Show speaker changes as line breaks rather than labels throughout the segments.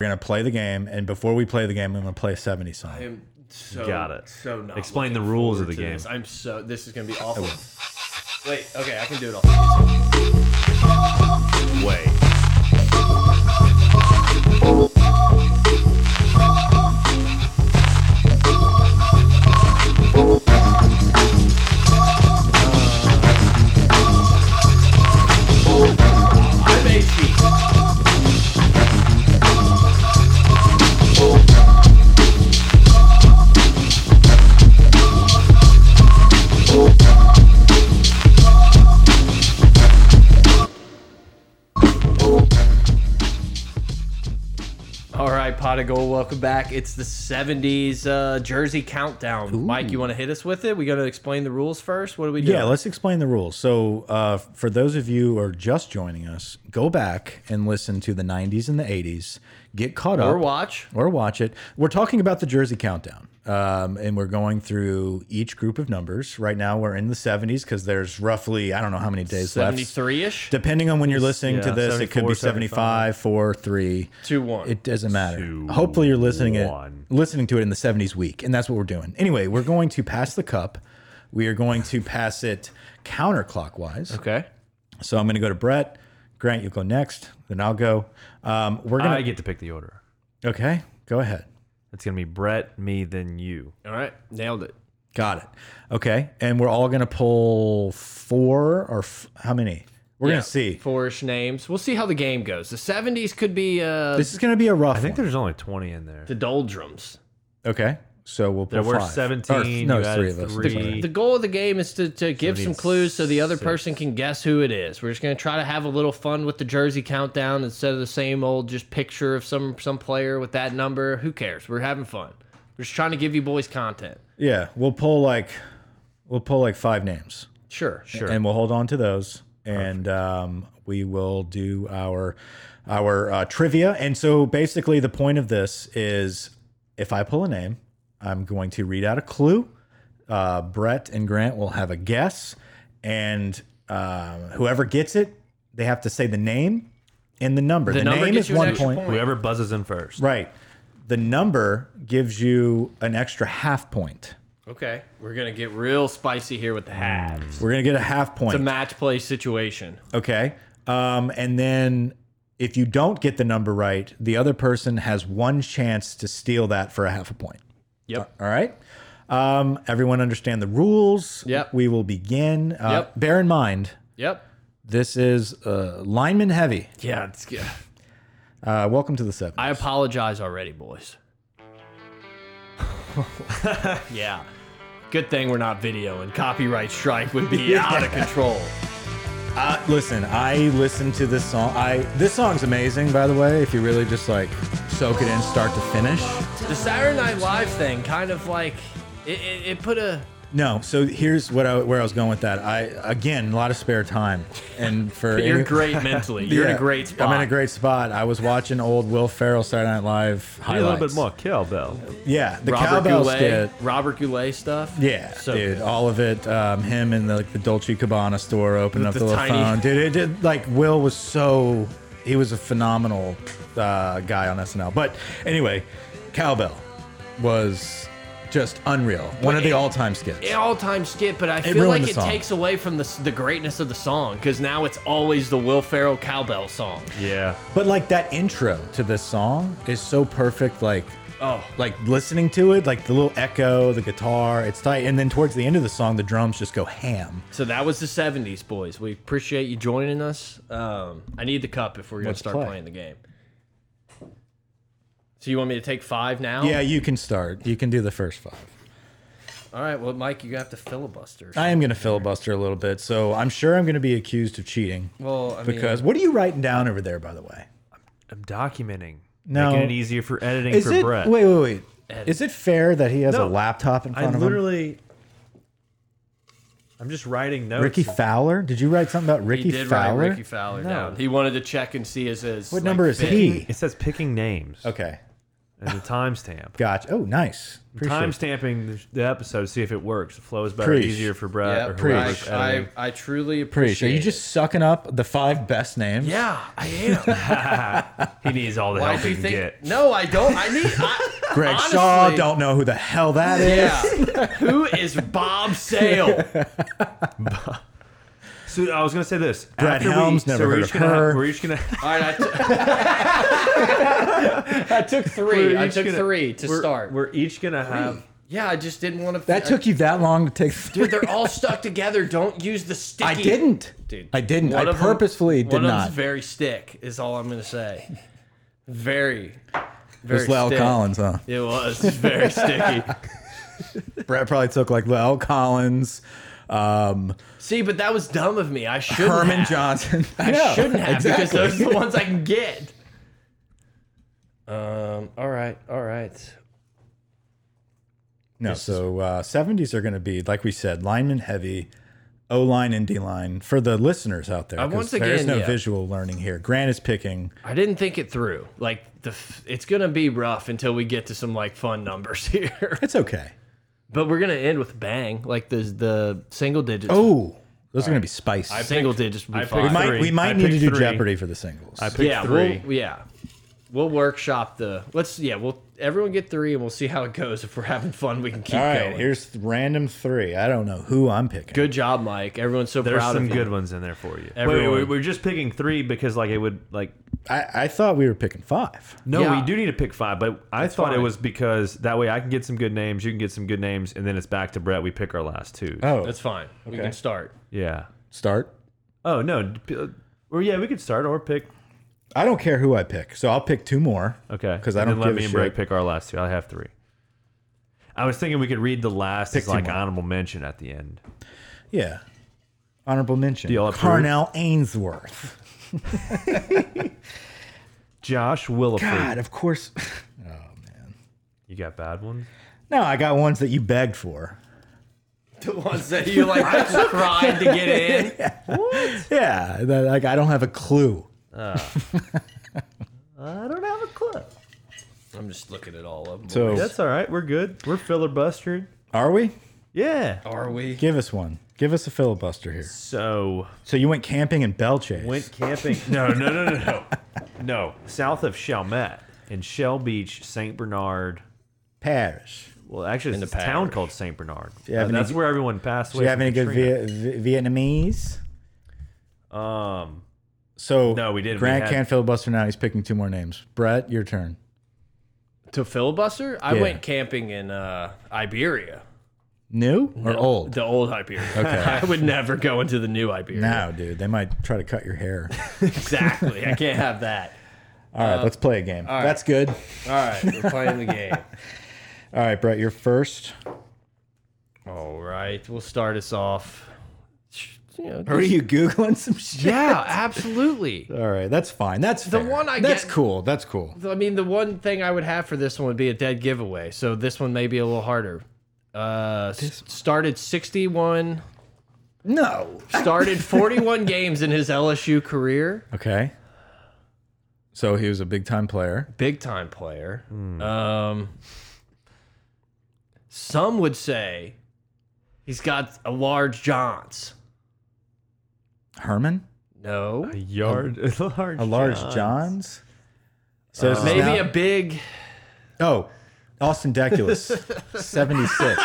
We're gonna play the game, and before we play the game, I'm gonna play a 70 song.
I am so
Got it.
So not
Explain the
looking
rules of
forward
the
to
game.
This. I'm so. This is gonna be awful. Wait. Okay, I can do it all.
Wait.
I'm HP. All right, Pot of Gold, welcome back. It's the 70s uh, Jersey Countdown. Mike, you want to hit us with it? We got to explain the rules first? What do we do?
Yeah, let's explain the rules. So, uh, for those of you who are just joining us, go back and listen to the 90s and the 80s. Get caught up.
Or watch.
Or watch it. We're talking about the Jersey Countdown. Um, and we're going through each group of numbers. Right now, we're in the 70s because there's roughly, I don't know how many days left.
73 ish?
Depending on when you're listening to
yeah,
this, it could be
74,
75, 4, 3.
2 1.
It doesn't matter.
Two,
Hopefully, you're listening it,
one.
listening to it in the '70s week, and that's what we're doing. Anyway, we're going to pass the cup. We are going to pass it counterclockwise.
okay.
So I'm going to go to Brett. Grant, you go next. Then I'll go. Um, we're
I
gonna.
get to pick the order.
okay, go ahead.
It's gonna be Brett, me, then you.
All right. Nailed it.
Got it. Okay, and we're all going to pull four or f how many? We're
Yeah,
going to see.
Four-ish names. We'll see how the game goes. The 70s could be uh,
This is going to be a rough.
I think
one.
there's only twenty in there.
the doldrums.
Okay, so we'll pull
There were
five. Or,
17,
no,
you
it's
added
three of us.
three.
Sorry.
The goal of the game is to, to give some
76.
clues so the other person can guess who it is. We're just going to try to have a little fun with the jersey countdown instead of the same old just picture of some, some player with that number. Who cares? We're having fun. We're just trying to give you boys content.
Yeah, we'll pull like, we'll pull like five names.
Sure. Sure.
and we'll hold on to those and um, we will do our our uh, trivia and so basically the point of this is if i pull a name i'm going to read out a clue uh, brett and grant will have a guess and um, whoever gets it they have to say the name and the number the,
number
name
gets
is
you an
one
extra
point
point.
Whoever buzzes in first.
right the number gives you an extra half point
Okay. We're going to get real spicy here with the halves.
we're going to get a half point
It's a match play situation.
Okay. Um, and then if you don't get the number right, the other person has one chance to steal that for a half a point.
Yep.
All right. Um, everyone understand the rules.
Yep.
We will begin. Uh,
Yep.
Bear in mind,
Yep.
this is uh, lineman heavy.
Yeah. It's good.
Uh, welcome to the seven.
I apologize already, boys. yeah. Good thing we're not video and copyright strike would be out of control.
Uh, listen, I listened to this song. I this song's amazing, by the way. If you really just like soak it in, start to finish.
The Saturday Night Live thing kind of like it, it, it put a
No, so here's what I, where I was going with that. I again, a lot of spare time, and for
you're
any-
great mentally. You're in
Yeah,
a great spot.
I'm in a great spot. I was watching old Will Ferrell Saturday Night Live
Need a
highlights.
little bit more cowbell.
Yeah, the
Robert
cowbell
Goulet,
skit.
Robert Goulet stuff.
Yeah,
So
dude,
good.
all of it. Um, him and the, like, the Dolce Cabana store opening up
the
the, little
tiny-
phone. Dude, it did like Will was so he was a phenomenal uh, guy on SNL. But anyway, cowbell was just unreal. One of the all-time skits.
An all-time skit, but I feel
ruined
like
the
it
song.
takes away from the, s- the greatness of the song because now it's always the Will Ferrell cowbell song.
Yeah.
But like that intro to this song is so perfect. Like,
Oh.
like listening to it, like the little echo, the guitar, it's tight. And then towards the end of the song, the drums just go ham.
So that was the 70s, boys. We appreciate you joining us. Um, I need the cup if we're going to
Let's
start
play.
playing the game. So you want me to take five now?
Yeah, you can start. You can do the first five.
All right. Well, Mike, you have to filibuster.
I am gonna filibuster a little bit, so I'm sure I'm gonna be accused of cheating.
Well, I mean-
because what are you writing down over there, by the way?
I'm documenting.
No.
Making it easier for editing
Is
for
it?
Brett.
Wait, wait, wait. Is it fair that he has
No,
a laptop in
I
front of him?
literally I'm just writing notes.
Ricky Fowler? Did you write something about
he
Ricky
did
Fowler?
write Ricky Fowler down. He wanted to check and see his. his
what number is he?
It says picking names.
Okay.
and the timestamp.
Gotcha. Oh, nice. Appreciate it.
Timestamping the, the episode to see if it works. The flow is better,
Preach.
easier for Brett.
Yeah,
or
Preach.
whoever's
I, I,
editing.
I truly
Preach.
appreciate.
Are you
it.
just sucking up the five best names?
Yeah, I am.
he needs all the
Why
help
do
he
you
can
think?
get.
No, I don't. I need. I,
Greg
honestly,
Shaw. Don't know who the hell that is.
Yeah. Who is Bob Sale?
So I was gonna say this.
Brett
After we-
Helms, never
so we're
heard
each
of
gonna,
her.
We're each gonna.
All right, I t- I took three.
we're
I
each
took
gonna-
three to
we're-
start.
We're each gonna have.
yeah, I just didn't want to.
That took you that long to take.
Dude, they're all stuck together. Don't use the sticky.
I didn't.
Dude,
I didn't.
one
I
of 'em-
purposefully
one
did
Of
not.
them's very stick is all I'm gonna say. Very, very.
It's Lel
stick.
Collins, huh?
It was very sticky.
Brett probably took like Lel Collins, um,
See, but that was dumb of me. I shouldn't
Herman
have.
Johnson.
I
know,
shouldn't have because
exactly.
those are the ones I can get. Um. All right. All right.
No, so uh, 70s are going to be, like we said, lineman heavy, O line and D line for the listeners out there. 'cause
Uh, once
there is
again,
no
yeah.
visual learning here. Grant is picking.
I didn't think it through. Like the, f- it's gonna be rough until we get to some like fun numbers here.
It's okay.
but we're gonna end with bang, like the the single digits.
Oh, those are going to be spiced.
single digits would be
I
fine.
we might, we
three. I
might need to
picked
do
three.
Jeopardy for the singles.
I picked
yeah,
3
we'll yeah, we'll workshop the. Let's yeah, we'll everyone get three and we'll see how it goes. If we're having fun, we can keep
All right,
going.
here's th- random three. I don't know who I'm picking.
Good job, Mike. Everyone's so
There's
proud
some
of you.
good ones in there for you. Wait, wait,
Everyone.
wait, we're just picking three because like it would like
I, I thought we were picking five.
no,
Yeah.
we do need to pick five, but I thought it
fine.
was because that way I can get some good names, you can get some good names, and then it's back to Brett. We pick our last two.
Oh,
That's fine. We can start.
Yeah.
start.
Oh no. d- uh, Or yeah, we could start or pick.
I don't care who I pick, so I'll pick two more.
Okay.
'Cause I
And
don't
then let
give a
me and
shit.
Brett pick our last two. I have three. I was thinking we could read the last
Pick
as
two
like
more.
honorable mention at the end.
Yeah. Honorable mention.
Do y'all approve?
Carnell Ainsworth.
Josh Williford.
God, of course.
You got bad ones?
No, I got ones that you begged for.
The ones that you like tried to get in.
Yeah, that, like I don't have a clue.
I don't have a clue.
I'm just looking at all of them.
So
That's all right. We're good. We're filibustering.
are we?
Yeah.
are we?
Give us one. Give us a filibuster here.
So
So you went camping in Belchase.
went camping. No, no, no, no, no. No. South of Chalmette in Shell Beach, St. Bernard.
Parish.
Well, actually,
In
it's a
the
town
parish.
called St. Bernard.
you have
Uh,
any-
that's where everyone passed
Do
away.
you have
from
any good
Katrina.
Via- v- Vietnamese?
Um,
So
No, we didn't. We
Grant
had-
can't filibuster now. He's picking two more names. Brett, your turn.
To filibuster? I
Yeah.
went camping in uh, Iberia,
New or old?
the old Iberia. Okay. I would never go into the new Iberia.
Now, dude, they might try to cut your hair.
Exactly. I can't have that.
All right, let's play a game. That's good. All
All right, we're playing the game.
right, Brett, you're first.
All right, we'll start us off. You know,
Are you googling some shit?
yeah, absolutely.
All right, that's fine. That's the
one I
That's
get-
cool. That's cool.
I mean, the one thing I would have for this one would be a dead giveaway. So this one may be a little harder. Uh, s- started 61,
No.
started 41 games in his LSU career.
Okay. So he was a big time player.
big time player.
Hmm.
Um, some would say he's got a large Johns.
Herman,
No,
a yard, a large,
a large Johns. So this is
maybe
now-
a big.
oh, Austin Deculus, seventy six.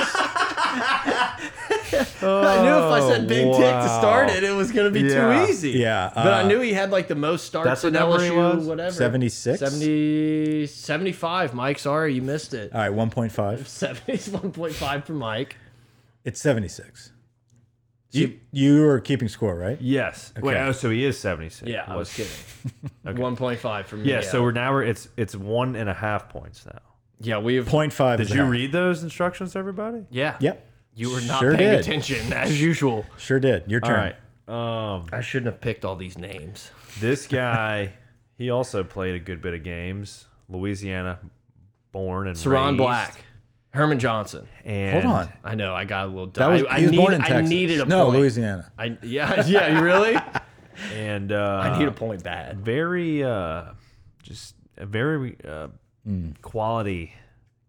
I knew if I said
Oh,
big tick to start
wow.
it, it was going to be
Yeah.
too easy.
Yeah,
but I
uh,
knew he had like the most starts
That's
in
what number he
LSU.
was?
Whatever.
76?
70, 75, Mike. Sorry, you missed it.
All right, one point five.
71.5 for Mike.
It's seventy six. You you are keeping score, right?
Yes. Wait.
Okay.
Oh, so he is seventy six.
Yeah, I was kidding. 1.5 for me.
Yeah, So we're now we're it's it's one and a half points now.
yeah, we've.
Point five.
Did
is
you
out.
read those instructions, everybody?
Yeah.
Yep.
You were not
Sure
paying
did.
attention as usual.
Sure did. Your
All
turn.
right. Um,
I shouldn't have picked all these names.
this guy, he also played a good bit of games. Louisiana, born and
Saron
raised.
Black, Herman Johnson.
And
Hold on.
I know I got a little.
That was
I, I
he was
need-
born in
I
Texas.
needed a
no,
point.
Louisiana.
I, yeah, yeah. You really?
And uh,
I need a point bad.
very uh, just a very uh, Quality,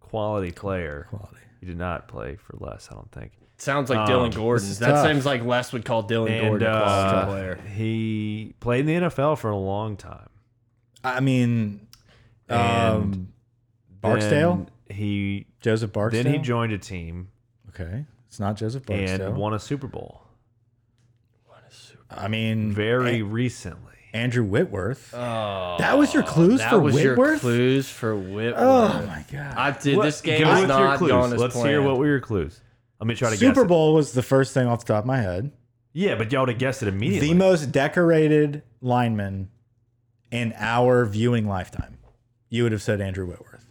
quality player.
Quality.
He did not play for less, I don't think.
Sounds like Dylan Gordon. That
tough.
seems like Les would call Dylan
And
Gordon a quality
uh,
player.
he played in the NFL for a long time.
I mean, um, Barksdale,
Then he
Joseph Barksdale.
then he joined a team
Okay, it's not Joseph
and
Barksdale.
won a Super Bowl
I mean,
very recently.
Andrew Whitworth.
Oh,
that was your clues
that
for
was your
Whitworth?
clues for Whitworth.
oh my god!
I did. This
What-
game
give me
is
what's your
not
clues.
going as
Let's
planned.
hear what were your clues. I'm gonna try to guess.
Super
it.
Bowl was the first thing off the top of my head.
Yeah, but y'all would have guessed it immediately.
The most decorated lineman in our viewing lifetime. You would have said Andrew Whitworth.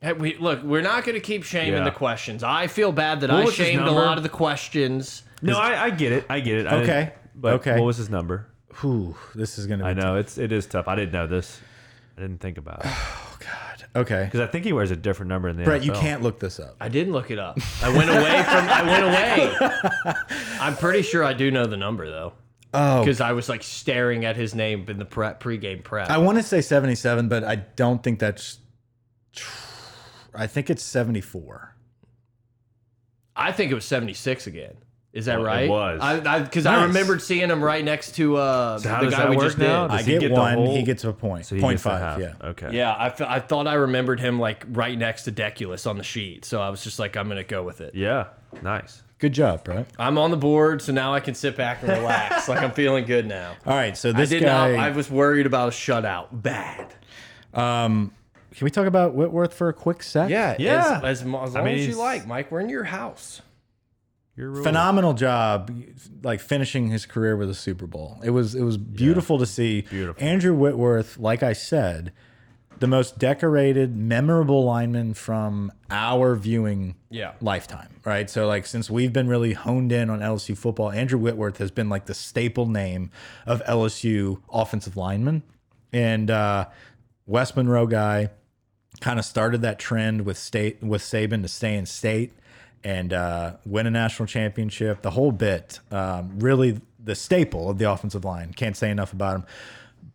Hey, we, look, we're not going to keep shaming
Yeah.
the questions. I feel bad that
What
I
was his
shamed a
number?
lot of the questions.
no, I, I get it. I get it. I
Okay,
didn't- But
okay.
what was his number?
Whew, this is gonna be
I know it's it is tough. I didn't know this. I didn't think about it
God. Okay.
because I think he wears a different number in the
Brett, you
NFL.
can't look this up.
I didn't look it up. I went away from. I went away. I'm pretty sure I do know the number though,
Oh
because I was like staring at his name in the prep pregame prep.
I want to say 77, but I don't think that's I think it's 74.
I think it was 76 again. Is that
Well, it
right?
was.
I because I,
Nice.
remembered seeing him right next to uh,
So how
the
does
guy
that
we
work
just
now?
did.
I
Does he
get,
get the
one,
whole-
he gets a point.
So he
point
gets the
five,
half.
yeah.
Okay.
Yeah, I, f I thought I remembered him like right next to Deculus on the sheet, so I was just like, I'm gonna go with it.
Yeah. Nice.
Good job, Brett.
I'm on the board, so now I can sit back and relax. like I'm feeling good now.
All right, so
I
this
did
guy
not. I was worried about a shutout. Bad.
Can we talk about Whitworth for a quick sec?
Yeah.
As, as, mo- as long
mean,
as you
he's-
like, Mike. We're in your house.
Your rule.
phenomenal job like finishing his career with a Super Bowl. It was it was beautiful to see.
Beautiful.
Andrew Whitworth, like I said, the most decorated, memorable lineman from our viewing
Yeah.
lifetime, right? So like since we've been really honed in on LSU football, Andrew Whitworth has been like the staple name of LSU offensive lineman. And uh West Monroe guy, kind of started that trend with state with Saban to stay in state and uh, win a national championship. The whole bit, um, really the staple of the offensive line. Can't say enough about him.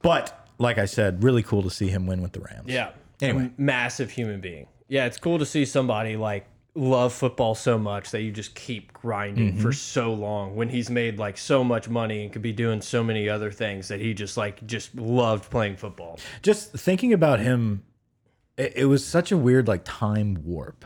But like I said, really cool to see him win with the Rams.
Yeah.
Anyway.
M- massive human being. Yeah, it's cool to see somebody like love football so much that you just keep grinding
Mm-hmm.
for so long when he's made like so much money and could be doing so many other things that he just like just loved playing football.
Just thinking about him, it, it was such a weird like time warp.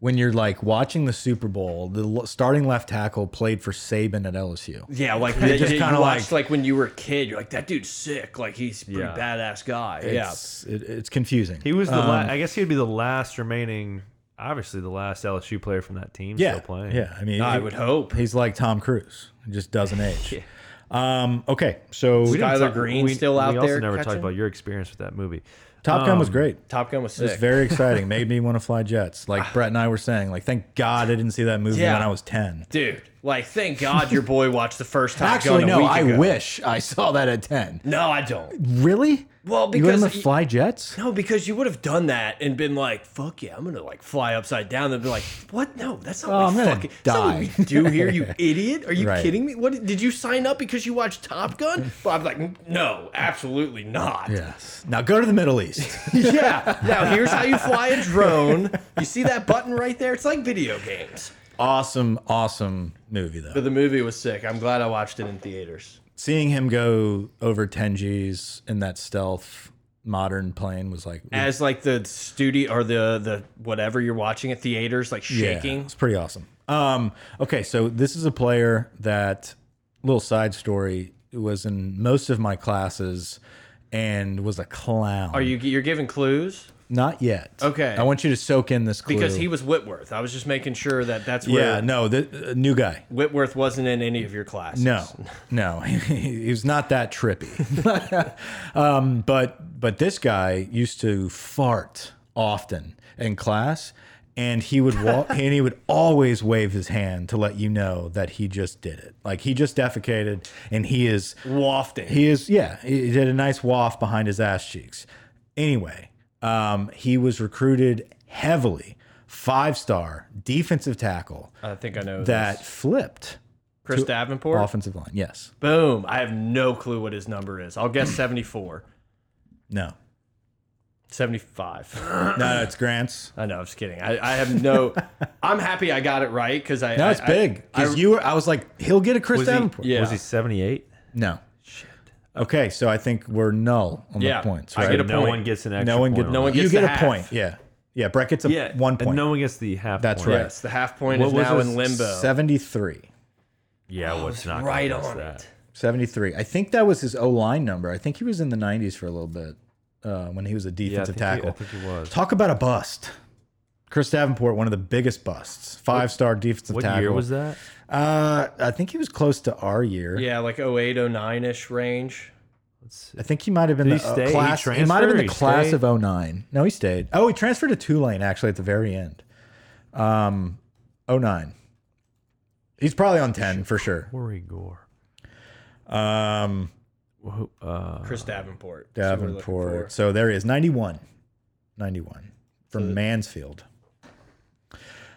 When you're like watching the Super Bowl, the l- starting left tackle played for Saban at LSU.
Yeah, like
just
you
kinda
watched like when you were a kid, you're like that dude's sick, like he's a pretty badass guy. yeah.
It's, it, it's confusing.
He was the. la- I guess he'd be the last remaining. Obviously, the last LSU player from that team
yeah,
still playing.
yeah. I mean,
I
it-
would hope.
He's like Tom Cruise. He just doesn't age. Um, okay, so
We didn't
Skylar
talk-
Green's
we-
still out
We also
there
never
catching?
talked about your experience with that movie.
Top Gun was great.
Top Gun was
It was
sick.
very exciting. Made me want to fly jets. Like Brett and I were saying, like thank God I didn't see that movie
Yeah.
when I was ten.
Dude, like thank God your boy watched the first Top
Actually,
Gun a
no,
week
I
ago.
wish I saw that at ten.
No, I don't.
Really?
Well,
you wouldn't
because
have
y-
fly jets.
No, because you would have done that and been like, "Fuck yeah, I'm gonna like fly upside down." They'd be like, "What? No, that's not
Oh,
what
I'm
we
gonna
fucking that's not what we
die."
do here, you idiot. Are you
Right.
kidding me? What did you sign up because you watched Top Gun?" But I'm like, "No, absolutely not."
Yes. Now go to the Middle East.
yeah. Now here's how you fly a drone. You see that button right there? It's like video games.
awesome, awesome movie though.
But the movie was sick. I'm glad I watched it in theaters.
Seeing him go over ten G's in that stealth modern plane was like
As like the studio or the the whatever you're watching at theaters, like shaking.
it's pretty awesome. Um, okay, so this is a player that little side story was in most of my classes and was a clown.
Are you you're giving clues?
not yet?
Okay.
I want you to soak in this clue.
Because he was Whitworth. I was just making sure that that's where
yeah, no, the uh, new guy.
Whitworth wasn't in any of your classes.
No, no, he was not that trippy. um, but but this guy used to fart often in class, and he would walk, and he would always wave his hand to let you know that he just did it. Like he just defecated, and he is
Wafting.
he is yeah he did a nice waft behind his ass cheeks. Anyway, um, he was recruited heavily, five star defensive tackle
I think I know that.
that flipped
Chris Davenport.
offensive line. Yes.
Boom. I have no clue what his number is. I'll guess 74.
No.
75.
No, no, it's Grant's.
I know, I'm just kidding. I, I have no. I'm happy I got it right because I.
No,
I-
it's
I-
big. Because you were, I was like, he'll get a Chris
Was he,
Davenport.
Yeah.
was he 78?
No. Shit. Okay, so I think we're null on
Yeah.
the points,
I
right?
get a
no
point.
one gets an extra
no one
point
get,
No one
you
gets
get
the
a
half.
point. Yeah. Yeah, Brett gets a
yeah,
one
and
point.
no one gets the half
That's
point.
right.
Yes, the half point
What
is
was
now
this?
in limbo.
73.
Yeah, I was not gonna
right
guess
on
that.
it.
73. I think that was his O line number. I think he was in the 90s for a little bit uh, when he was a
Yeah, I
defensive
think, He, I
tackle.
think he was.
Talk about a bust. Chris Davenport, one of the biggest busts. Five star defensive
What
tackle.
year was that?
Uh, I think he was close to our year.
Yeah, like 08, 09 ish range.
I think he might have been
Did
the
he
uh,
stay? He
class. He, might have been
transferred?
the
He
class
stayed?
of 09. No, he stayed. Oh, he transferred to Tulane actually at the very end. Um, 09. He's probably on 10 for sure.
Corey Gore.
Um,
Who- Uh,
Chris Davenport. is who we're looking
Davenport. So there he is. 91. 91 from Mansfield.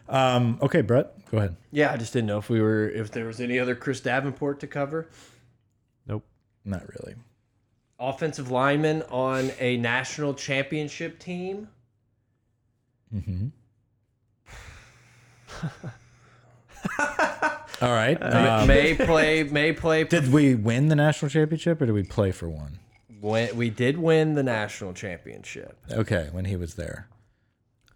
Um, okay, Brett, go ahead.
for. Yeah, I just didn't know if we were if there was any other Chris Davenport to cover.
nope.
Not really.
Offensive lineman on a national championship team.
All right. Uh,
may play. May play.
did we win the national championship or did we play for one?
Win- we did win the national championship.
Okay, when he was there.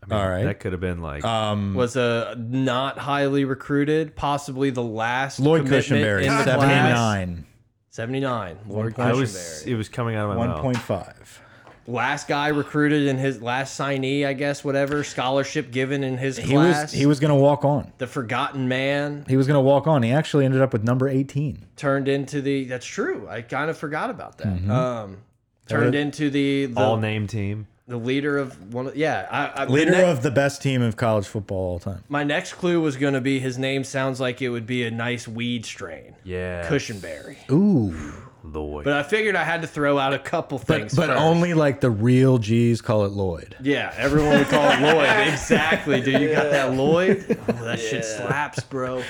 I mean,
All right.
That could have been like
Uh,
Mm.
Was a not highly recruited, possibly the last
Lloyd
commitment
Cushenberry,
in the class.
79.
79. Lloyd
I was.
Cushenberry.
It was coming out of my
One
mouth.
point five.
Last guy recruited in his last signee, I guess, whatever scholarship given in his
He was
class.
he was gonna walk on.
the forgotten man
He was gonna walk on. He actually ended up with number eighteen.
turned into the. That's true. I kind of forgot about that.
Mm-hmm.
Um, turned into the the,
All name team.
the leader of one. Of, yeah, I, I,
Leader
ne-
of the best team of college football all time.
My next clue was going to be his name sounds like it would be a nice weed strain.
Yeah.
Cushionberry.
Ooh.
Lloyd.
But I figured I had to throw out a couple things.
But
first.
only like the real G's call it Lloyd.
Yeah, everyone would call it Lloyd. Exactly, dude. You got that Lloyd? Oh, that shit slaps, bro.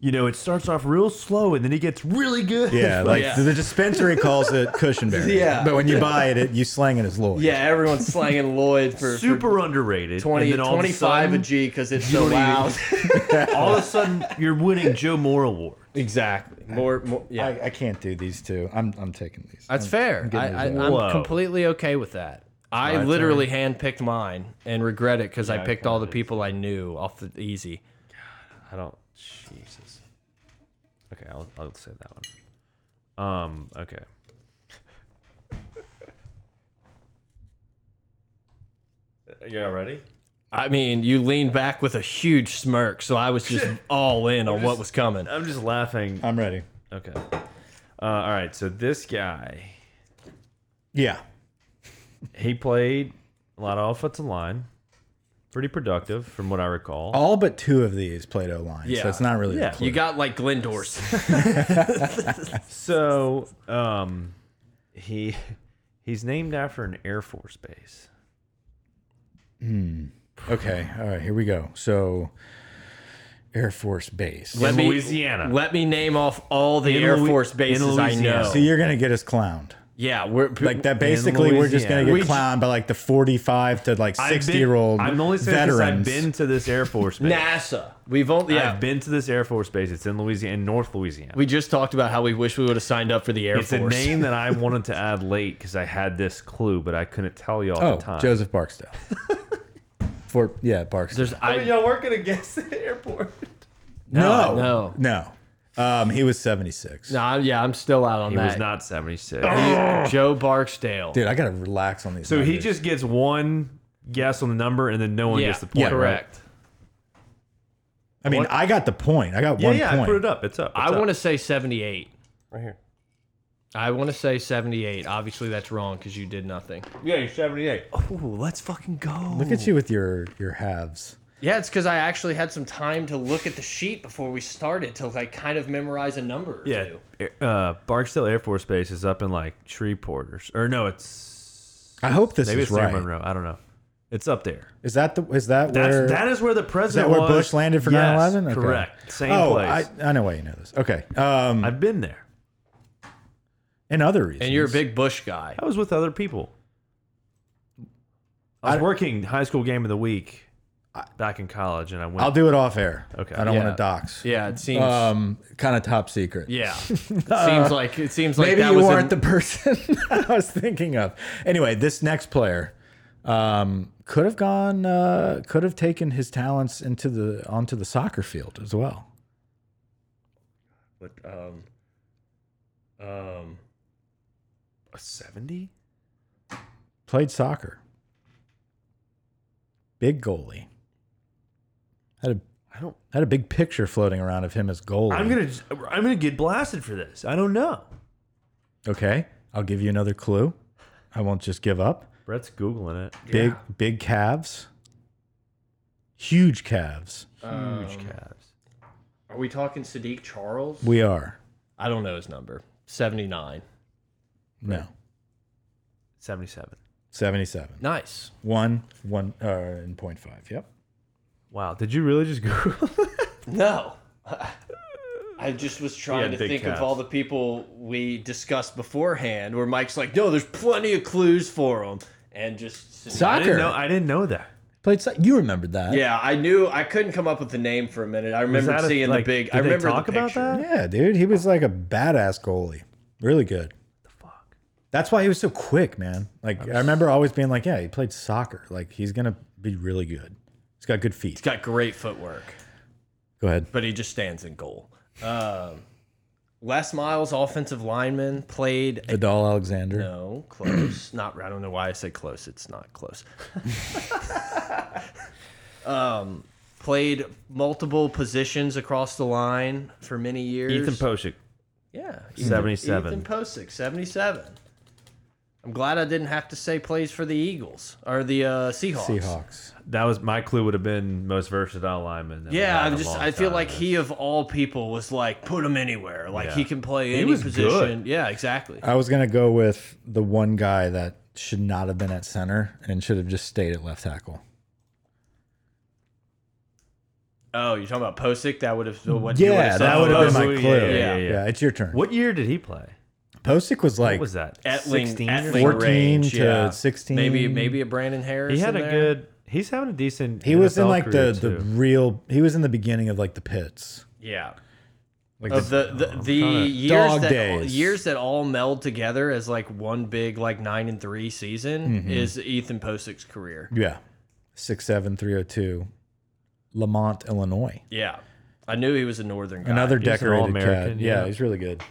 you know, it starts off real slow and then he gets really good.
Yeah, like
Yeah.
the dispensary calls it Cushionberry.
Yeah.
But when you buy it, it you slang it as Lloyd.
Yeah, everyone's slanging Lloyd for, for
Super underrated.
20,
and then all
25
of
a
a sudden,
G because it's so loud.
all of a sudden you're winning Joe Moore Award.
exactly. More, more yeah.
I, I can't do these two. I'm I'm taking these.
That's fair. I, I,
getting
I'm
Whoa.
completely okay with that. I literally handpicked mine and regret it because I picked all the people I knew off the easy.
I don't. Jesus. Okay, I'll I'll say that one. Um. Okay. Yeah. Ready?
I mean, you leaned back with a huge smirk, so I was just all in on what was coming.
I'm just laughing.
I'm ready.
Okay. Uh, all right. So this guy,
Yeah.
he played a lot of offensive line. Pretty productive, from what I recall.
All but two of these played O line.
Yeah.
So it's not really a
Yeah.
clue.
You got like Glendor's.
So, um, he he's named after an Air Force base.
Okay. All right. Here we go. So, Air Force Base.
Let me,
Louisiana.
Let me name off all the
In
Air
Louis-
Force
in
bases I
Louisiana.
know.
So you're gonna get us clowned.
Yeah, we're
Like that. Basically, we're just gonna get
We ju-
clowned by like the 45 to like 60 year old
I'm only saying this 'cause
veterans.
I've been to this Air Force base.
NASA. We've only yeah.
I've been to this Air Force base. It's in Louisiana, in North Louisiana.
we just talked about how we wish we would have signed up for the Air
it's
Force.
a name that I wanted to add late because I had this clue, but I couldn't tell you all
oh,
the time.
Joseph Barksdale. For yeah, Barksdale.
There's I,
y'all working against the airport.
no,
no.
no. Um, he was 76.
no, I'm- yeah, I'm still out on
He
that.
was not 76.
Joe Barksdale.
Dude, I gotta relax on these.
so he
numbers.
just gets one guess on the number, and then no one
yeah,
gets the point. Right?
correct.
I mean, I got the point. I got
Yeah,
one
yeah.
point.
I put it up. It's up.
I want to say 78.
right here.
I want to say 78. Obviously, that's wrong because you did nothing.
Yeah, you're 78.
Oh, let's fucking go.
Look at you with your your halves.
Yeah, it's because I actually had some time to look at the sheet before we started to like kind of memorize a number. Or
Yeah,
two.
uh, Barksdale Air Force Base is up in like Shreveport or, s- or no, it's
I hope this
maybe
is
it's near
right.
Monroe. I don't know. It's up there.
Is that the is that
That's
where
that is where the president
where
was.
Bush landed for
yes,
9/11? Okay.
Correct. Same
Oh,
place.
I, I know why you know this. Okay. Um,
I, have been there.
and other reasons.
And you're a big Bush guy.
I was with other people. I was working high school game of the week back in college, and I went.
I'll do it off air.
Okay.
I don't
Yeah.
want to dox.
Yeah, it seems.
Um, kind of top secret.
yeah, it seems like it seems like
Maybe
that
you
was
weren't
an,
the person I was thinking of. Anyway, this next player um, could have gone, uh, could have taken his talents into the onto the soccer field as well.
but, um, um,
a seventy.
Played soccer. Big goalie. Had a
I don't.
had a big picture floating around of him as goalie.
I'm gonna. I'm gonna get blasted for this. I don't know.
okay, I'll give you another clue. I won't just give up.
Brett's googling it.
Big big calves. Huge calves.
Huge
Um,
calves.
are we talking Sadiq Charles?
We are.
I don't know his number. Seventy nine.
No.
Seventy-seven.
77.
Nice.
One, one, uh, and point five. Yep.
Wow. Did you really just Google?
No. I just was
Yeah,
trying to
big
think
calves.
of all the people we discussed beforehand where Mike's like, no, there's plenty of clues for them. And just.
I didn't
Soccer.
know. I didn't know that.
Played so- you remembered that.
Yeah, I knew. I couldn't come up with the name for a minute. I remember
that a-
seeing
like,
the big.
did
I
they
remember
talk
the
about
picture.
that?
Yeah, dude. He was like a badass goalie. Really good.
Fuck.
That's why he was so quick, man. Like, I remember always being like, yeah, he played soccer. Like, he's going to be really good. He's got good feet.
He's got great footwork,
Go ahead.
but he just stands in goal. Um, Les Miles, offensive lineman, played
Vidal Alexander.
No, close. not. I don't know why I said close. It's not close. um, played multiple positions across the line for many years.
Ethan Posick.
yeah,
77.
Ethan Posick, seventy-seven. I'm glad I didn't have to say plays for the Eagles or the uh, Seahawks.
Seahawks.
That was my clue. Would have been most versatile lineman. that we've
Yeah,
had in
I'm
a
just.
long
I feel
time.
like he of all people was like put him anywhere. Like
Yeah.
he can play
He
any
was
position.
good.
Yeah, exactly.
I was going to go with the one guy that should not have been at center and should have just stayed at left tackle.
Oh, you're talking about Posick? That would have. What you
Yeah, that
would've said.
would have been
Oh,
my
yeah,
clue.
yeah,
yeah,
yeah.
it's your turn.
What year did he play?
Posick was like
What was that?
Etling,
16 or
Etling
something?
14
range,
to
yeah.
16.
Maybe maybe a Brandon Harris.
He had a
in there.
good. He's having a decent.
He was in
NFL
like
career,
the, the
too.
real. He was in the beginning of like the pits,
yeah.
like
Of
the,
the the, the
kinda-
years
Dog
that
days.
years that all meld together as like one big like nine and three season is Ethan Posick's career.
yeah, six seven three zero two, Lamont, Illinois.
Yeah, I knew he was a Northern guy.
Another
He's an
decorated
All-American,
cat. Yeah.
yeah.
he's really good.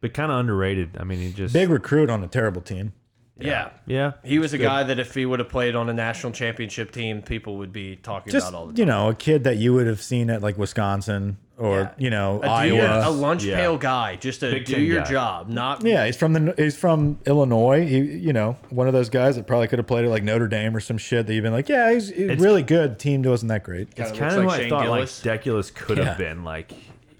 but kind of underrated. I mean, he just
Big recruit on a terrible team.
yeah.
Yeah,
He was a guy that if he would have played on a national championship team, people would be talking
Just
about all the time.
you know, a kid that you would have seen at like Wisconsin or you know
Dude, a
Iowa.
lunch
Yeah.
pail guy, just a
Big
do
Ten
your
guy.
job, not
Yeah, he's from the he's from Illinois. He, you know, one of those guys that probably could have played at like Notre Dame or some shit. That you've been like, yeah, he's, he's really good. Team wasn't that great.
it's
Kinda
kind
looks
of
like
what I
Shane
thought.
Gillis.
Like Deculus could
Yeah.
have been like,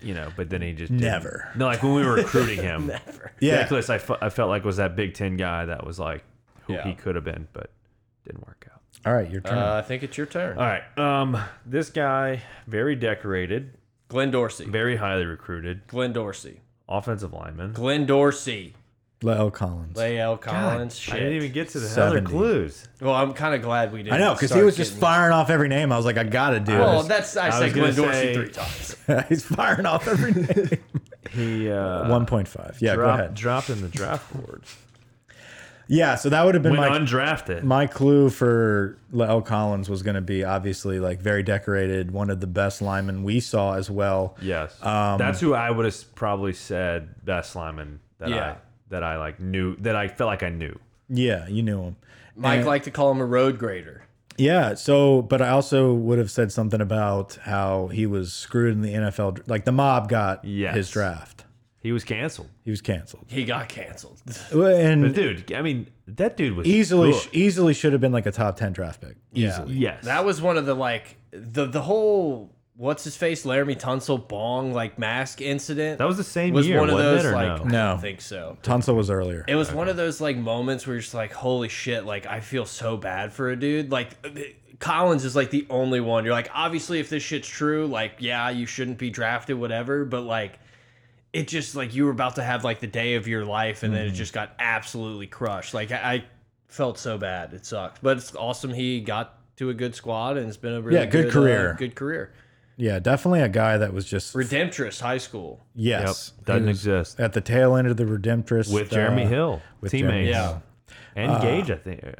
you know, but then he just didn't.
Never.
No, like when we were recruiting him, Never.
Yeah.
Deculus, I, fe- I felt like was that Big Ten guy that was like who he could have been, but didn't work out.
All right, your turn.
Uh, I think it's your turn,
All right, um, this guy very decorated,
Glenn Dorsey.
very highly recruited,
Glenn Dorsey.
offensive lineman.
Glenn Dorsey.
Lael Collins.
L.
God,
Collins.
I
shit.
didn't even get to the other
70.
clues.
Well, I'm kind of glad we didn't.
I know because he
start
was just
getting-
firing off every name. I was like, I gotta do
Oh,
it.
that's I,
was
said
gonna
Glenn Dorsey
say-
three times.
He's firing off every name.
He uh,
One point five. Yeah, go
dropped-
ahead.
dropped in the draft board.
Yeah, so that would have been
Went
my
undrafted.
my clue for L. Collins was going to be obviously like very decorated, one of the best linemen we saw as well.
Yes,
Um,
that's who I would have probably said best lineman that I
Yeah.
that I like knew that I felt like I knew.
Yeah, you knew him.
Mike liked to call him a road grader.
Yeah, so but I also would have said something about how he was screwed in the NFL. dr- Like the mob got
Yes.
his draft.
He was canceled,
He was canceled.
He got canceled.
but
And
dude, I mean that dude was
easily
good.
easily should have been like a top 10 draft pick. Easily.
yes,
That was one of the like the the whole what's his face Laramie Tunsil bong like mask incident.
that was the same
was
year.
one of
wasn't
those
it, or
like
no?
I
No.
don't think so.
Tunsil was earlier.
It was one of those like moments where you're just like, holy shit, like I feel so bad for a dude. Like uh, Collins is like the only one. You're like, obviously, if this shit's true, like, yeah, you shouldn't be drafted, whatever. But like, it
Mm-hmm.
just like you were about to have like the day of your life and then it just got absolutely crushed. Like, I, I felt so bad. It sucked, but it's awesome he got to a good squad and it's been a really
Yeah, good
uh,
career.
good career.
Yeah, definitely a guy that was just
Redemptress High School.
yes
Yep. Doesn't
He was
exist.
at the tail end of the Redemptress
With
uh,
Jeremy Hill.
with
teammates.
Jeremy Uh,
Hill.
And Gage, I think.
Yeah,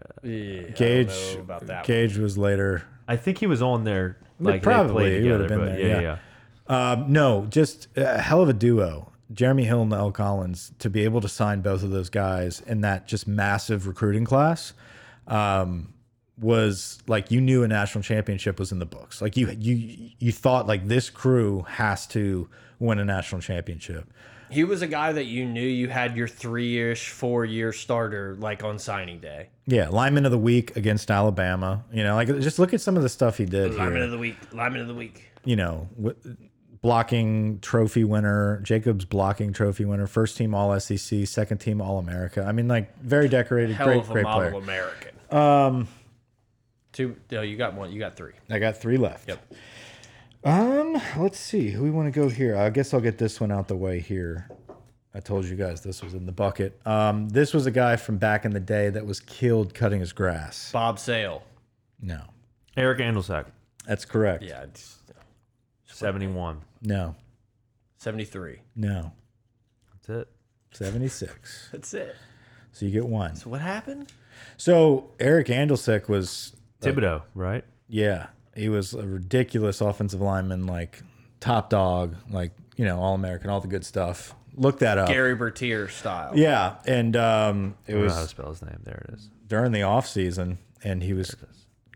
I
Gage
don't know about that. one.
Gage was later.
I think he was on there. Like,
probably,
They played
he would've
together,
been
but
there,
yeah,
yeah.
yeah.
Um, no, just a hell of a duo. Jeremy Hill and Mel Collins to be able to sign both of those guys in that just massive recruiting class um, was like you knew a national championship was in the books. Like you you you thought like this crew has to win a national championship.
He was a guy that you knew you had your three-ish, four-year starter like on signing day.
Yeah, lineman of the week against Alabama. You know, like just look at some of the stuff he did. here.
Lineman of the week. Lineman of the week.
you know, w- blocking trophy winner, Jacobs blocking trophy winner, first team All SEC, second team All America. I mean, like very decorated,
Hell
great,
of a
great
model
player.
American. Um, two. No, you got one. You got three.
I got three left. Yep. Um, let's see who we want to go here. I guess I'll get this one out the way here. I told you guys this was in the bucket. Um, this was a guy from back in the day that was killed cutting his grass.
Bob Sale.
No,
Eric Andelsack,
that's correct.
Yeah, it's
71.
No,
seventy-three.
no,
That's it.
seventy six.
That's it.
so you get one.
So what happened?
So Eric Andelsick was
Thibodeau, right?
Yeah, he was a ridiculous offensive lineman, like top dog, like you know, all American, all the good stuff. Look that up.
Gary Bertier style.
Yeah, and um, it
I don't know how to
was
spell his name. There it is.
during the off season, and he was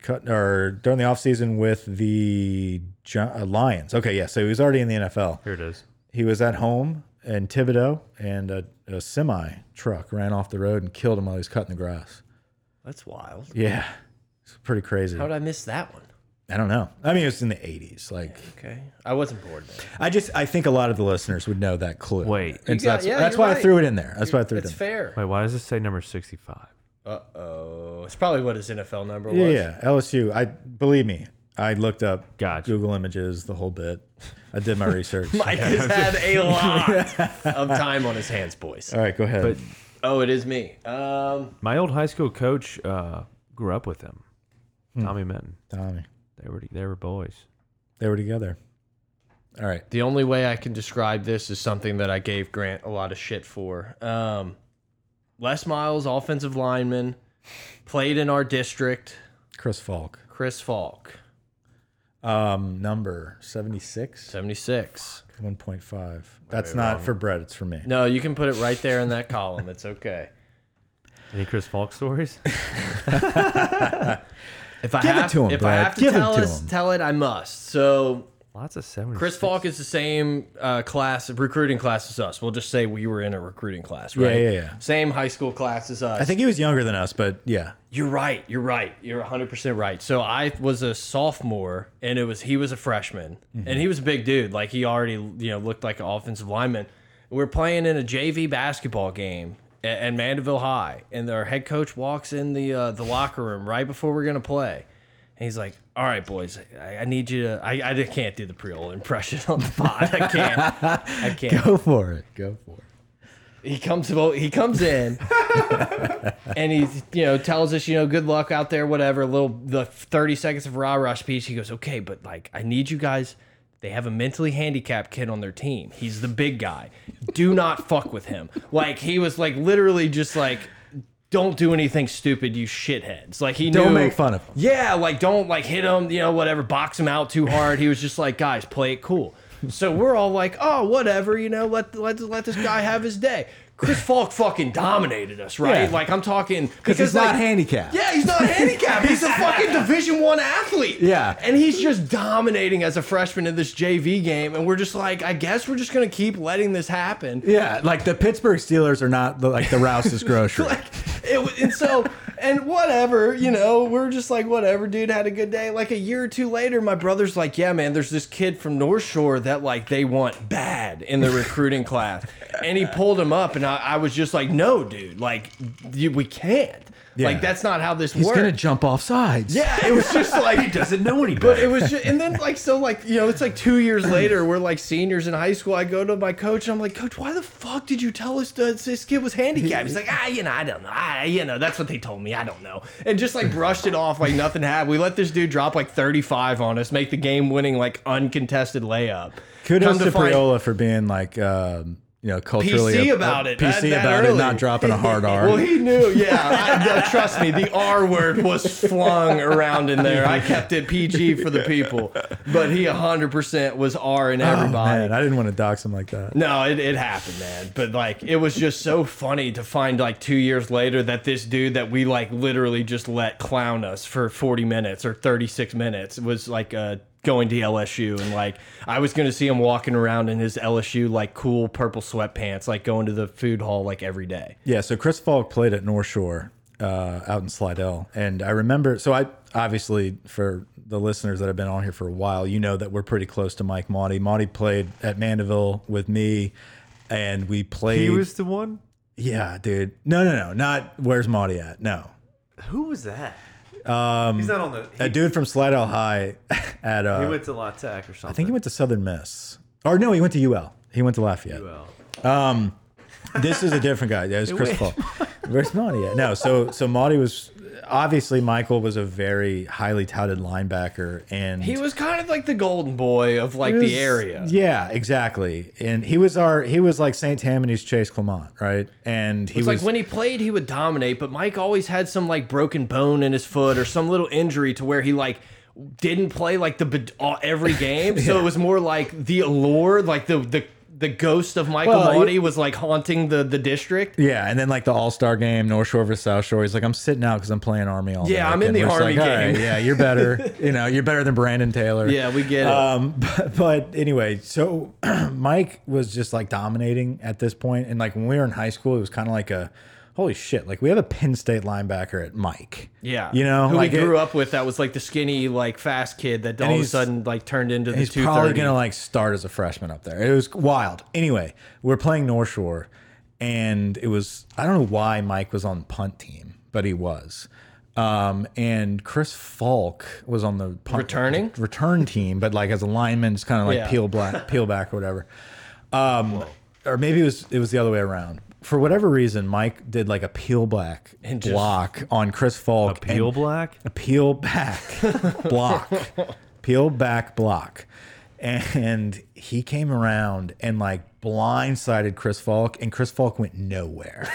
cut or during the off season with the Gi- uh, Lions. Okay, yeah, so he was already in the NFL.
Here it is.
He was at home in Thibodeau, and a, a semi truck ran off the road and killed him while he was cutting the grass.
That's wild.
Yeah, it's pretty crazy.
How did I miss that one?
I don't know. I mean, it was in the '80s, like.
Okay, I wasn't bored. Then.
I just I think a lot of the listeners would know that clue.
Wait.
and so
got-
that's,
yeah,
that's
you're
why I
right.
threw it in there. That's why I threw it in.
That's fair.
Wait, why does it say number 65?
Uh oh, it's probably what his NFL number was.
there. Yeah, yeah, LSU. I believe me. I looked up
Gotcha.
Google images, the whole bit. I did my research.
Mike has had a lot of time on his hands, boys.
All right, go ahead.
But
Oh, it is me. Um,
my old high school coach uh, grew up with him,
Hmm.
Tommy Minton.
Tommy,
They were they were boys.
they were together. All right.
The only way I can describe this is something that I gave Grant a lot of shit for. Um, Les Miles, offensive lineman, played in our district.
Chris Falk.
Chris Falk,
Um, number 76,
76.
1.5. That's not for Brett, it's for me.
No, you can put it right there in that column. It's okay.
Any Chris Falk stories?
If I
Give it
have
to him,
if
Brad.
I have to
Give it
tell
to
us,
him.
tell it I must. So
Lots of 70.
Chris Falk is the same uh, class, recruiting class as us. We'll just say we were in a recruiting class,
Yeah,
right?
yeah, yeah.
Same high school class as us.
I think he was younger than us, but yeah.
You're right. You're right. You're 100% right. So I was a sophomore and it was he was a freshman. And he was a big dude. Like he already, you know, looked like an offensive lineman. We're playing in a JV basketball game at, at Mandeville High and our head coach walks in the uh, the locker room right before we're going to play. And he's like, "All right, boys, I, I need you to I, I just can't do the Creole impression on the pod. I can't. I can't
Go for it. Go for it.
he comes about he comes in and he you know tells us you know good luck out there whatever a little the 30 seconds of rah rah speech he goes okay but like i need you guys they have a mentally handicapped kid on their team he's the big guy do not fuck with him like he was like literally just like don't do anything stupid you shitheads like he
Don't
knew-
make fun of him.
yeah, like don't like hit him, you know, whatever, box him out too hard. He was just like, guys, play it cool. So we're all like, oh, whatever, you know, let let, let this guy have his day. Chris Falk fucking dominated us, right?
Yeah.
Like I'm talking
Because he's not
like,
handicapped.
Yeah, he's not handicapped. He's a fucking Division One athlete.
Yeah.
and he's just dominating as a freshman in this JV game, and we're just like, I guess we're just gonna keep letting this happen.
Yeah, like the Pittsburgh Steelers are not the, like the Rouse's grocery.
it w- and so and whatever you know we're just like whatever dude had a good day like a year or two later my brother's like yeah man there's this kid from north shore that like they want bad in the recruiting class and he pulled him up and i, I was just like no dude like you, we can't
Yeah.
Like that's not how this
He's
works.
gonna jump off sides.
yeah, it was just like
He doesn't know any
But
better.
it was, just, and then like so, like you know, it's like two years later. We're like seniors in high school. I go to my coach. And I'm like, Coach, why the fuck did you tell us that this kid was handicapped? He's like, Ah, you know, I don't know. I, you know, that's what they told me. I don't know. And just like brushed it off like nothing happened. We let this dude drop like 35 on us, make the game-winning like uncontested layup.
Kudos
Come
to,
find-
Priola for being like, um, you know, culturally
PC
a-
about it,
PC
that- that
about it,
early.
not dropping a hard R.
Well, he knew, yeah. I, no, trust me, the R word was flung around in there. I kept it PG for the people, but he 100% was R in
oh,
everybody.
man, I didn't want to dox him like that.
no, it, it happened, man. But like, it was just so funny to find like two years later that this dude that we like literally just let clown us for 40 minutes or 36 minutes was like uh, going to LSU. And like, I was going to see him walking around in his LSU like cool purple sweatpants, like going to the food hall like every day.
Yeah, so Chris Falk played at North Shore uh, out in Slidell, and I remember. So I obviously, for the listeners that have been on here for a while, you know that we're pretty close to Mike Monty. Monty played at Mandeville with me, and we played.
he was the one.
yeah, dude. No, no, no, not where's Monty at? No,
Who was that? Um, He's not on the.
a
He,
dude from Slidell High at uh,
he went to La Tech or something.
I think he went to Southern Miss, or no, he went to UL. He went to Lafayette.
Well,
this is a different guy. That was Chris Paul. Where's Monty at? No, so so Monty was obviously Michael was a very highly touted linebacker, and
He was kind of like the golden boy of like the area.
Yeah, exactly. And he was our he was like St. Tammany's Chase Clement, right? And he
It's
was
like when he played, he would dominate, but Mike always had some like broken bone in his foot or some little injury to where he like didn't play like the bed- all- every game. So it was more like the allure, like the the the ghost of Michael
Well,
well,
he-
was like haunting the the district.
yeah, and then like the All Star game, North Shore versus South Shore. He's like, I'm sitting out because I'm playing Army all
Yeah,
night."
I'm in
And
the
we're just
Army
like, "All right,
game."
yeah, you're better. you know, you're better than Brandon Taylor.
Yeah, we get it.
Um, but, but anyway, so Mike was just like dominating at this point, and like when we were in high school, it was kind of like a holy shit, like we have a Penn State linebacker at Mike.
yeah,
you know,
who
like
we
it-
grew up with. That was like the skinny, like fast kid that all of a
he's-
sudden like turned into the
He's
two
probably
thirty.
gonna like start as a freshman up there. It was wild. Anyway, we're playing North Shore, and it was I don't know why Mike was on the punt team, but he was. Um, and Chris Falk was on the punt,
Returning?
return team, but like as a lineman, just kind of like
Yeah.
peel black, peel back or whatever. Um, or maybe it was it was the other way around. For whatever reason, Mike did like a peel back
just-
block on Chris Falk. and-
Peel Black.
peel back block peel back block and he came around and like blindsided chris falk and chris falk went nowhere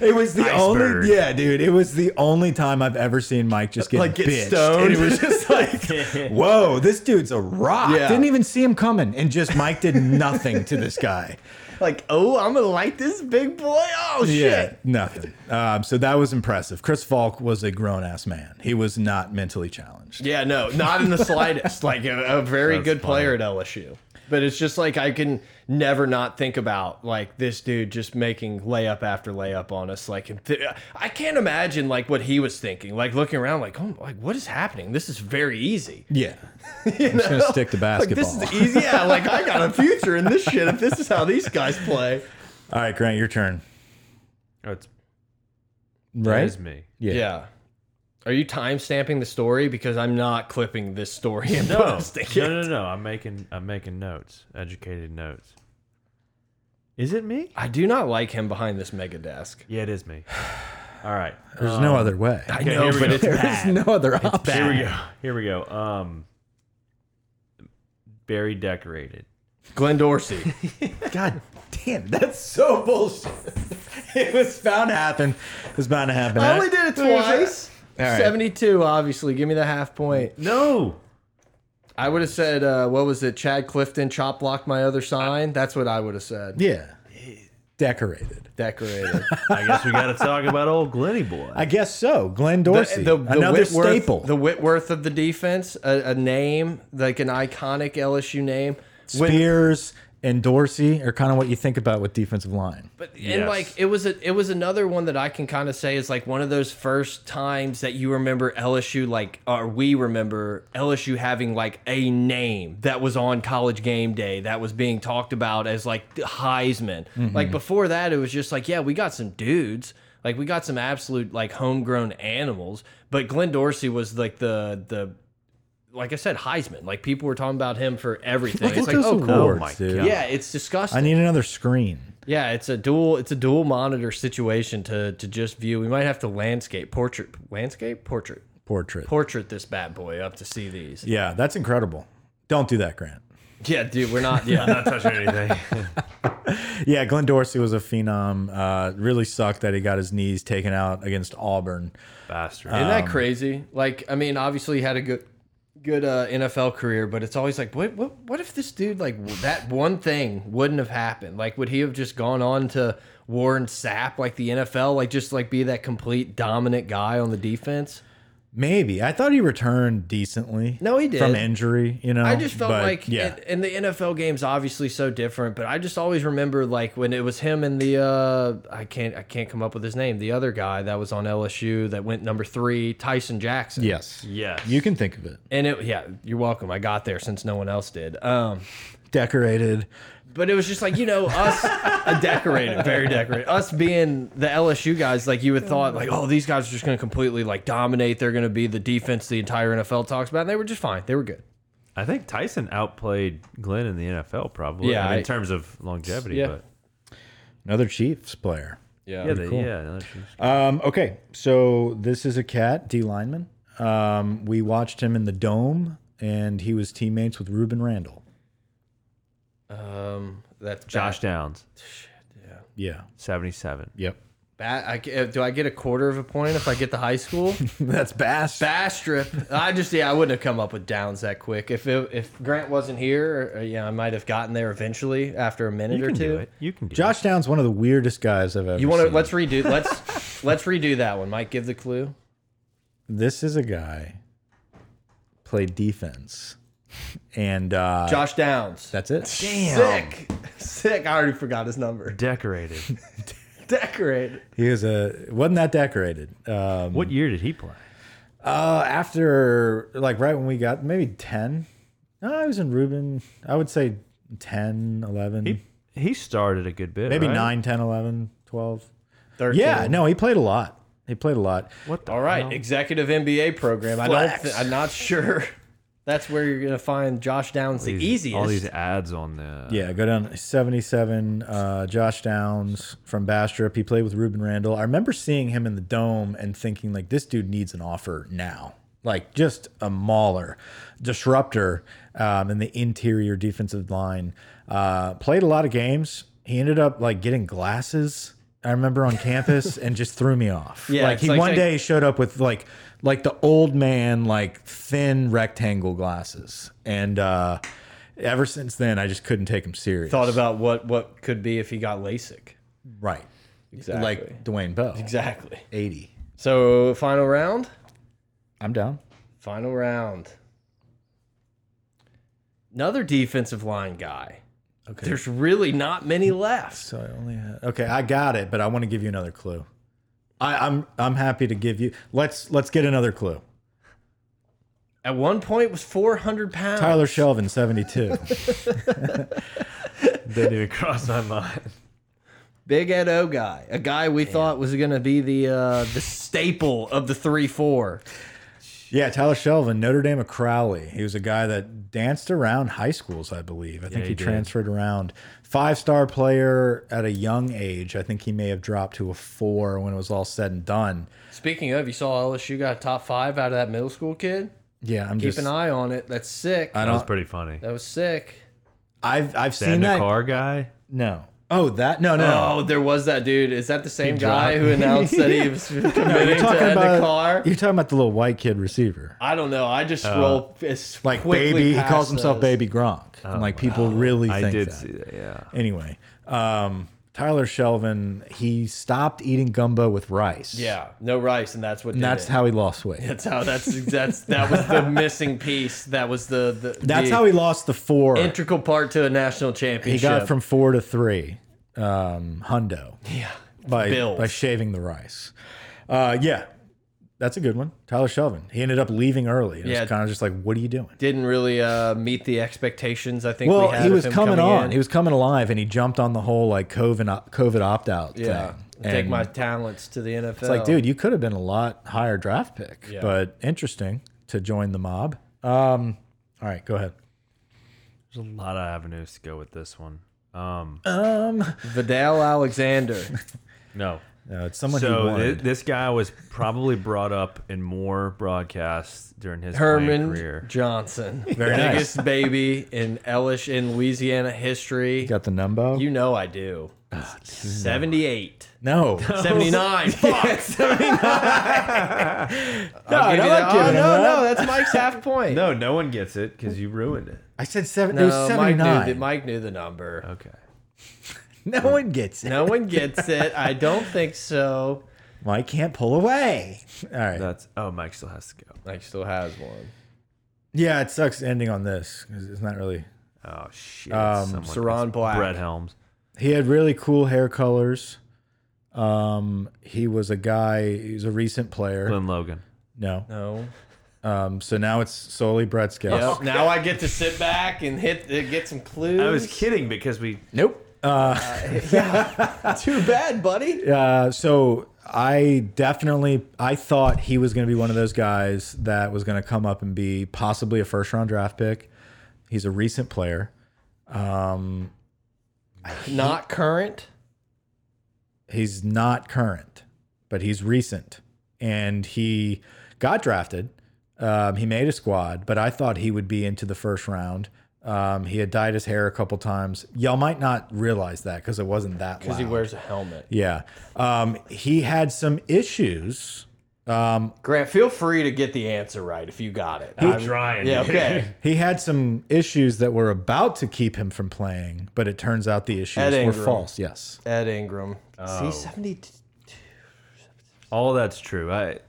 it was the
Iceberg.
only yeah dude it was the only time i've ever seen mike just get
Like, get
bitched.
stoned.
and it was just like whoa this dude's a rock
Yeah.
didn't even see him coming and just mike did nothing to this guy
Like, oh, I'm gonna light this big boy. Oh
yeah,
shit.
nothing. Um, so that was impressive. Chris Falk was a grown ass man. He was not mentally challenged.
Yeah, no, not in the slightest. like a, a very good player at LSU. But it's just like I can never not think about like this dude just making layup after layup on us. Like and th I can't imagine like what he was thinking. Like looking around, like oh, like what is happening? This is very easy.
Yeah, I'm just gonna stick to
Like
basketball.
this is easy. Yeah, like I got a future in this shit if this is how these guys play.
All right, Grant, your turn.
Oh, it's
Right?
It's me.
Yeah.
Yeah. Are you time stamping the story because I'm not clipping this story and
No,
posting it?
no, no, no. I'm making I'm making notes. Educated notes. Is it me?
I do not like him behind this mega desk.
Yeah, it is me. All right. uh,
There's no other way.
Um, I
Okay,
know,
here we
but
go.
it's
There's
bad.
no other option.
Here we go. Here we go. Um, very decorated.
Glenn Dorsey.
God damn, that's so bullshit. it was bound to happen. It was bound to happen.
I only did it twice.
right.
72, obviously. Give me the half point.
No.
I would have said, uh, what was it? Chad Clifton chop blocked my other sign. That's what I would have said.
yeah, decorated.
Decorated.
I guess we got to talk about old Glenny boy.
I guess so. Glenn Dorsey, another
Whitworth,
staple.
The Whitworth of the defense, a, a name, like an iconic LSU name. When-
Spears, and Dorsey are kind of what you think about with defensive line.
But and
Yes.
like it was a, it was another one that I can kind of say is like one of those first times that you remember LSU like or we remember LSU having like a name that was on college game day that was being talked about as like the Heisman. Like before that it was just like yeah, we got some dudes. Like we got some absolute like homegrown animals, but Glenn Dorsey was like the the like I said Heisman. Like people were talking about him for everything. It's
Look at
like
those
oh cool.
awards,
my
dude.
God.
Yeah, it's disgusting.
I need another screen.
Yeah, it's a dual it's a dual monitor situation to to just view. We might have to landscape portrait landscape portrait
Portrait.
portrait this bad boy up to see these.
yeah, that's incredible. Don't do that, Grant.
Yeah, dude, we're not yeah.
Not touching anything.
Yeah, Glenn Dorsey was a phenom. Uh, really sucked that he got his knees taken out against Auburn.
Bastard.
Isn't that crazy? Like, I mean, obviously he had a good good uh, NFL career, but it's always like, what, what what if this dude like w- that one thing wouldn't have happened? Like, would he have just gone on to Warren Sapp, like the NFL, like just like be that complete dominant guy on the defense?
Maybe I thought he returned decently.
No, he did.
from injury. You know,
I just felt
But,
like,
yeah,
and, and the NFL game's obviously so different, but I just always remember like when it was him and the uh, I can't I can't come up with his name, the other guy that was on LSU that went number three, Tyson Jackson.
yes,
Yes.
you can think of it.
and it yeah, you're welcome. I got there since no one else did. Um,
Decorated.
but it was just like you know us a decorated very decorated us being the lsu guys like you would thought like oh these guys are just going to completely like dominate they're going to be the defense the entire nfl talks about and they were just fine they were good
I think Tyson outplayed Glenn in the NFL probably.
Yeah,
I mean,
I-
in terms of longevity,
Yeah.
but
Another Chiefs player.
yeah, they, yeah. that's just-
Um, okay, so this is a cat, D lineman. Um, we watched him in the dome, and he was teammates with Ruben Randall.
um that's
Josh Downs,
Yeah.
seventy-seven.
Yep.
Ba I, ca- do I get a quarter of a point if I get the high school?
That's Bass.
Bastrip. I just yeah, I wouldn't have come up with downs that quick. If it, if Grant wasn't here, or, yeah, I might have gotten there eventually after a minute
You
or
can
two.
do it. You can do
Josh Downs, one of the weirdest guys I've ever.
You want to
seen.
let's redo let's let's redo that one. Mike, give the clue.
This is a guy played defense, and uh,
Josh Downs.
that's it.
Sick, sick. I already forgot his number.
it. Decorated.
Mm-hmm.
Decorate.
He was a wasn't that decorated. Um,
what year did he play?
uh, after like right when we got maybe ten. No, I was in Ruben. I would say 10, 11,
He he started a good bit.
maybe
right?
nine, ten, eleven, twelve. 9, 10, 11, 12.
13.
Yeah, no, he played a lot. He played a lot.
What? The
All right,
hell?
executive MBA program. I don't.
Flex.
thi- I'm not sure. That's where you're gonna find Josh Downs the
These-
easiest.
All these ads on the.
Yeah, go down 77. Uh, Josh Downs from Bastrop. He played with Ruben Randall. I remember seeing him in the dome and thinking, like, this dude needs an offer now. Like, just a mauler, disruptor um, in the interior defensive line. Uh, played a lot of games. He ended up, like, getting glasses. I remember on campus and just threw me off.
Yeah,
like
it's
he
like-
one
like-
day showed up with like like the old man like thin rectangle glasses and uh ever since then I just couldn't take him serious.
thought about what what could be if he got LASIK.
right.
Exactly.
Like Dwayne Bell.
Exactly.
80.
So final round.
I'm down.
Final round. Another defensive line guy.
Okay.
There's really not many left.
so I only had, Okay, I got it, but I want to give you another clue. I, I'm I'm happy to give you. Let's let's get another clue.
At one point, was 400 pounds.
Tyler Shelvin, 72.
Didn't even cross my mind.
Big Ed O guy, a guy we thought was going to be the uh, the staple of the three four.
yeah, Tyler Shelvin, Notre Dame of Crowley. He was a guy that danced around high schools, I believe. I think
he
he
did.
transferred around. Five star player at a young age. I think he may have dropped to a four when it was all said and done.
Speaking of, you saw LSU got a top five out of that middle school kid.
Yeah, I'm
Keep
just.
an eye on it. That's sick.
I
That was
don't.
pretty funny.
that was sick.
I've I've
That
seen that.
Dakar guy.
No. Oh, that no no.
Oh, there was that dude. Is that the same guy who announced that he was committing
you're
to
talking
Ed
about
Dakar?
you're talking about the little white kid receiver,
I don't know. I just scroll as
Uh, like
quickly
baby. He
past
calls himself
those.
Baby Gronk. and like people really think
I Oh, did
that.
see that. Yeah.
Anyway, um, Tyler Shelvin, he stopped eating gumbo with rice.
Yeah, no rice, and that's what.
And
did
that's
it.
how he lost weight.
That's how. That's that's that was the missing piece. That was the. the
That's
the
how he lost the four.
integral part to a national
He
championship.
got from four to three, um, hundo. Yeah, by
Bills.
by shaving the rice. Uh, yeah, that's a good one. Tyler Shelvin. He ended up leaving early. And yeah,
Yeah.
kind of just like, what are you doing?
didn't really uh, meet the expectations. I think.
Well,
we had
he
of
was
him
coming on.
in.
He was coming alive, and he jumped on the whole like COVID op COVID opt out
yeah,
thing.
take
And
my talents to the NFL.
It's like, dude, you could have been a lot higher draft pick, but interesting to join the mob. Um, all right, go ahead.
There's a lot of avenues to go with this one. Um,
Vidal Alexander.
no.
No, Uh, it's someone who
So
wanted.
th this guy was probably brought up in more broadcasts during his playing
Herman
career.
Johnson,
Very nice.
biggest baby in Elish in Louisiana history.
got Ah, the number?
You know I do. 78.
no.
79. Fuck. 79.
No, no,
I'll give you
I'm
that.
giving
Oh,
him that.
no, no, that's Mike's half point.
No, no one gets it because you ruined it.
I said seven. it was
no Mike, knew
79.
the, Mike knew the number.
Okay.
no one gets it.
No one gets it. I don't think so.
Mike can't pull away. All right.
That's oh, Mike still has to go.
Mike still has one.
Yeah, it sucks ending on this 'cause it's not really.
Oh shit!
Um,
someone-
Saron
it's
Black.
Brett Helms.
He had really cool hair colors. Um, he was a guy. He was a recent player.
Glenn Logan.
No.
No.
Um, so now it's solely Brett's guess.
Yep. Now I get to sit back and hit uh, get some clues.
I was kidding because we
Nope.
too bad, buddy.
Uh, so I definitely I thought he was going to be one of those guys that was going to come up and be possibly a first round draft pick. He's a recent player.
Not current.
He's not current, but he's recent, and he got drafted. Um, he made a squad, but I thought he would be into the first round. Um, he had dyed his hair a couple times. Y'all might not realize that because it wasn't that.
Because he
loud.
wears a helmet.
yeah, um, he had some issues.
Grant, feel free to get the answer right if you got it. I'm
trying.
Yeah, okay.
He had some issues that were about to keep him from playing, but it turns out the issues
Ed
were
Ingram.
false. Yes.
Ed Ingram. Is
Oh.
he 72?
All that's true. I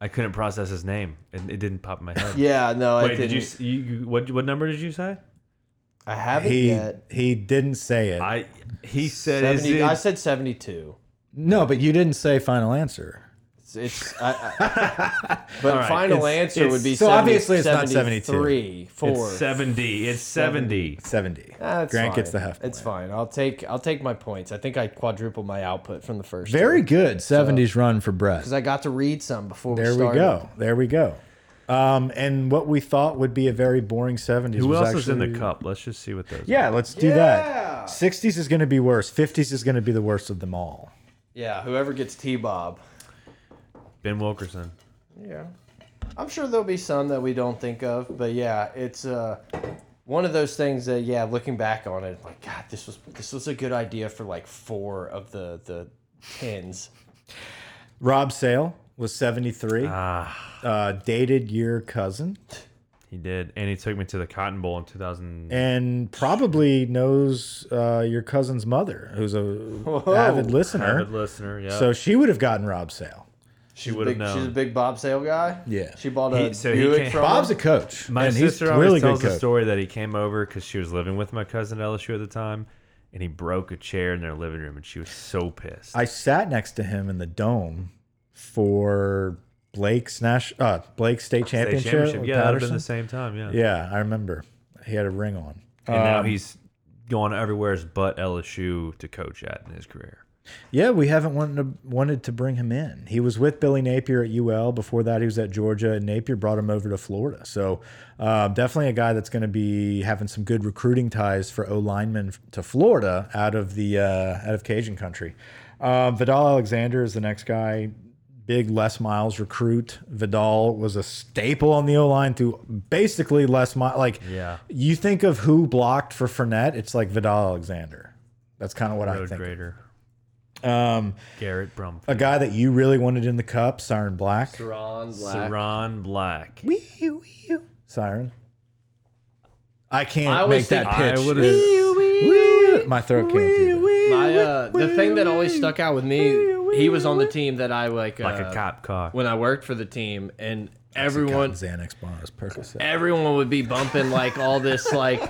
I couldn't process his name, and it didn't pop in my head.
Yeah, no, I
Wait,
didn't.
did you, s- you, you what? What number did you say?
I haven't
He
yet.
he didn't say it.
I he said is
70,
it-
I said 72.
no, but you didn't say final answer.
It's, it's I, I- but
right,
final
it's-
answer
it's-
would be
so
70,
obviously it's not
73, Four.
it's seventy. It's seventy.
Seventy.
That's
Grant
fine.
gets the half.
It's
point.
fine. I'll take I'll take my points. I think I quadrupled my output from the first.
Very good seventies run for Brett.
because I got to read some before
There
we
we
started.
go. There we go. Um, and what we thought would be a very boring seventies.
Who
was
else
actually,
is in the cup? Let's just see what those.
Yeah, let's do
Yeah.
that. Sixties is going to be worse. Fifties is going to be the worst of them all.
Yeah, whoever gets T Bob.
Are. Ben Wilkerson.
Yeah. I'm sure there'll be some that we don't think of, but yeah, it's uh one of those things that yeah, looking back on it, like God, this was this was a good idea for like four of the the pins.
Rob Sale was seventy three.
Ah,
uh, dated your cousin
he did, and he took me to the Cotton Bowl in two thousand.
and probably knows uh, your cousin's mother, who's a avid listener.
Good listener. Yeah.
So she would have gotten Rob Sale.
she would have
Big- She's a
known.
big Bob Sale guy.
Yeah.
She bought a
He- so he
Buick
came-
from
Bob's a
him.
coach.
My
and
sister
he's
always
really
tells
good
the
coach.
story that he came over because she was living with my cousin at LSU at the time, and he broke a chair in their living room, and she was so pissed.
I sat next to him in the dome for Blake's Nash, uh, Blake State
State
Championship.
championship.
with
Yeah, that'd have been
Patterson.
the same time. Yeah.
Yeah, Um, I remember. He had a ring on.
And now he's gone everywhere but LSU to coach at in his career.
Yeah, we haven't wanted to, wanted to bring him in. He was with Billy Napier at UL. Before that, he was at Georgia, and Napier brought him over to Florida. So, uh, definitely a guy that's going to be having some good recruiting ties for O linemen to Florida out of the uh, out of Cajun country. Um, Vidal Alexander is the next guy. Big Les Miles recruit. Vidal was a staple on the O line through basically Les Miles. Like,
Yeah.
you think of who blocked for Fournette, it's like Vidal Alexander. That's kind of what I
Road
think.
grader.
Um,
Garrett Brumfield.
a guy that you really wanted in the cup, Siren Black.
Ron Black.
Saron Black.
Wee-hoo, wee-hoo. Siren. I can't
I
make
always
that
think-
I
pitch.
would've-
Wee-hoo, My throat can't do that.
My, uh, the thing that always stuck out with me, he was on the team that I like,
like
uh,
a cop car.
when I worked for the team, and
Cotton
everyone
Xanax bars, Percocet.
everyone would be bumping like all this like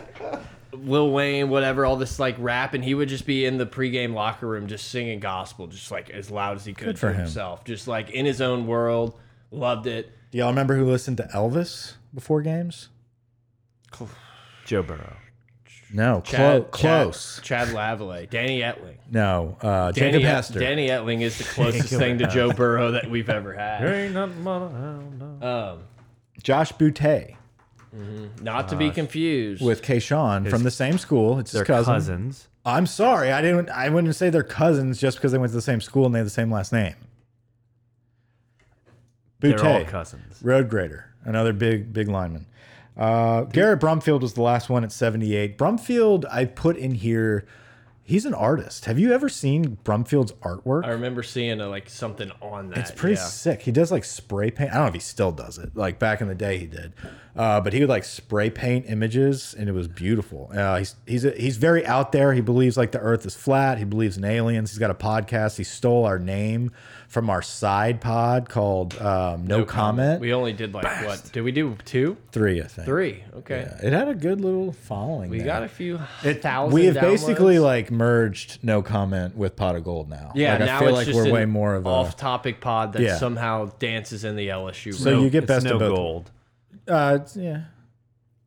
Lil Wayne, whatever, all this like rap, and he would just be in the pregame locker room just singing gospel, just like as loud as he could
for
to
him.
himself, just like in his own world. Loved it.
Do y'all remember who listened to Elvis before games?
Joe Burrow.
No,
Chad-
clo- close.
Chad, Chad Lavallee, Danny Etling.
No, uh,
Danny, E-
Jacob Hester.
Danny Etling is the closest thing to Joe Burrow that we've ever had.
Ain't nothing but a hound dog.
Um,
Josh Boutte
not to be confused
with Kayshawn from the same school. It's his
They're
cousin.
cousins.
I'm sorry, I didn't. I wouldn't say they're cousins just because they went to the same school and they had the same last name.
They're all
Boutte,
cousins.
road grader, another big big lineman. Uh, Garrett Brumfield was the last one at 78. Brumfield, I put in here. He's an artist. Have you ever seen Brumfield's artwork?
I remember seeing uh like something on that.
It's pretty
yeah.
sick. He does like spray paint. I don't know if he still does it. Like back in the day, he did. Uh, but he would like spray paint images, and it was beautiful. Uh, he's he's a, he's very out there. He believes like the Earth is flat. He believes in aliens. He's got a podcast. He stole our name from our side pod called um, No, Comment
We only did like what? Did we do two,
Three, I think.
three? Okay,
Yeah, It had a good little following.
we
there.
got a few
It-
thousand.
we have basically
downloads.
like merged no comment with pot of gold now.
yeah.
like,
now
I feel
it's
like
just
we're
an
way more of a.
off-topic pod that
Yeah.
somehow dances in the LSU.
So
room.
you get
It's
best
no
of both.
gold.
Uh, it's- yeah,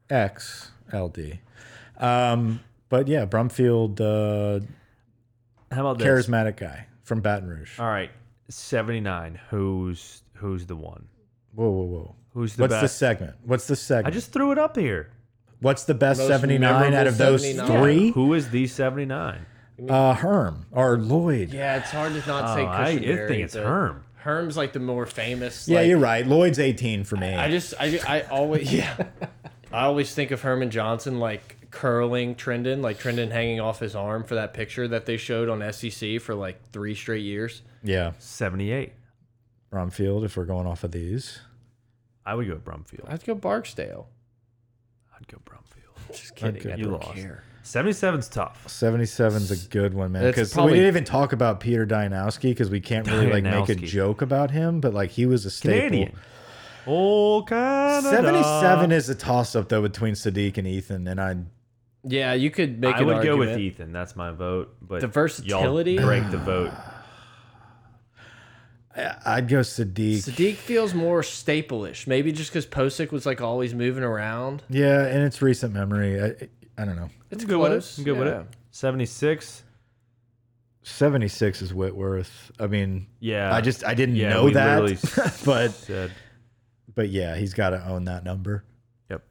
X L D. Um, but yeah, Brumfield, uh,
How about this?
charismatic guy from Baton Rouge.
Uh,
All right, seventy-nine. Who's who's the one?
Whoa, whoa, whoa!
Who's the
What's
best?
the segment? What's the
I
segment?
just threw it up here.
What's the best
Most
seventy nine out of
memorable
those
79.
three?
Who is the seventy-nine?
Uh, Herm or Lloyd? Yeah,
yeah, it's hard to not
Oh,
say
I, I
Christian Berry,
think it's
but
Herm.
Herm's like the more famous. like-
you're right. Lloyd's eighteen for me.
I just I, I always yeah. I always think of Herman Johnson like curling Trendon, like Trendon hanging off his arm for that picture that they showed on SEC for like three straight years.
yeah,
Seventy-eight.
Brumfield. If we're going off of these,
I would go Brumfield.
I'd go Barksdale.
I'd go Brumfield.
Just kidding.
Okay.
I
You
don't
lost.
care.
77's tough.
77's a good one, man.
That's
Because we
probably-
didn't even talk about Peter Dianowski because we can't really like make a
Dianowski.
joke about him, but like he was a staple.
Canadian. Oh, Canada.
77 is a toss up though between Sadiq and Ethan, and I
Yeah, you could make
I
an
would go with
argument.
Ethan. That's my vote. But
The versatility?
Y'all break the vote.
I'd go
E.
Sadiq.
Sadiq feels more staple-ish. Maybe just because Posick was like always moving around.
Yeah, and it's recent memory. I, I don't know.
It's
Good with it.
close.
I'm good with
yeah.
it. 76.
76 is Whitworth. I mean,
Yeah.
I just I didn't
yeah,
know
we literally
that,
s-
but
said.
but yeah, he's got to own that number.
Yep.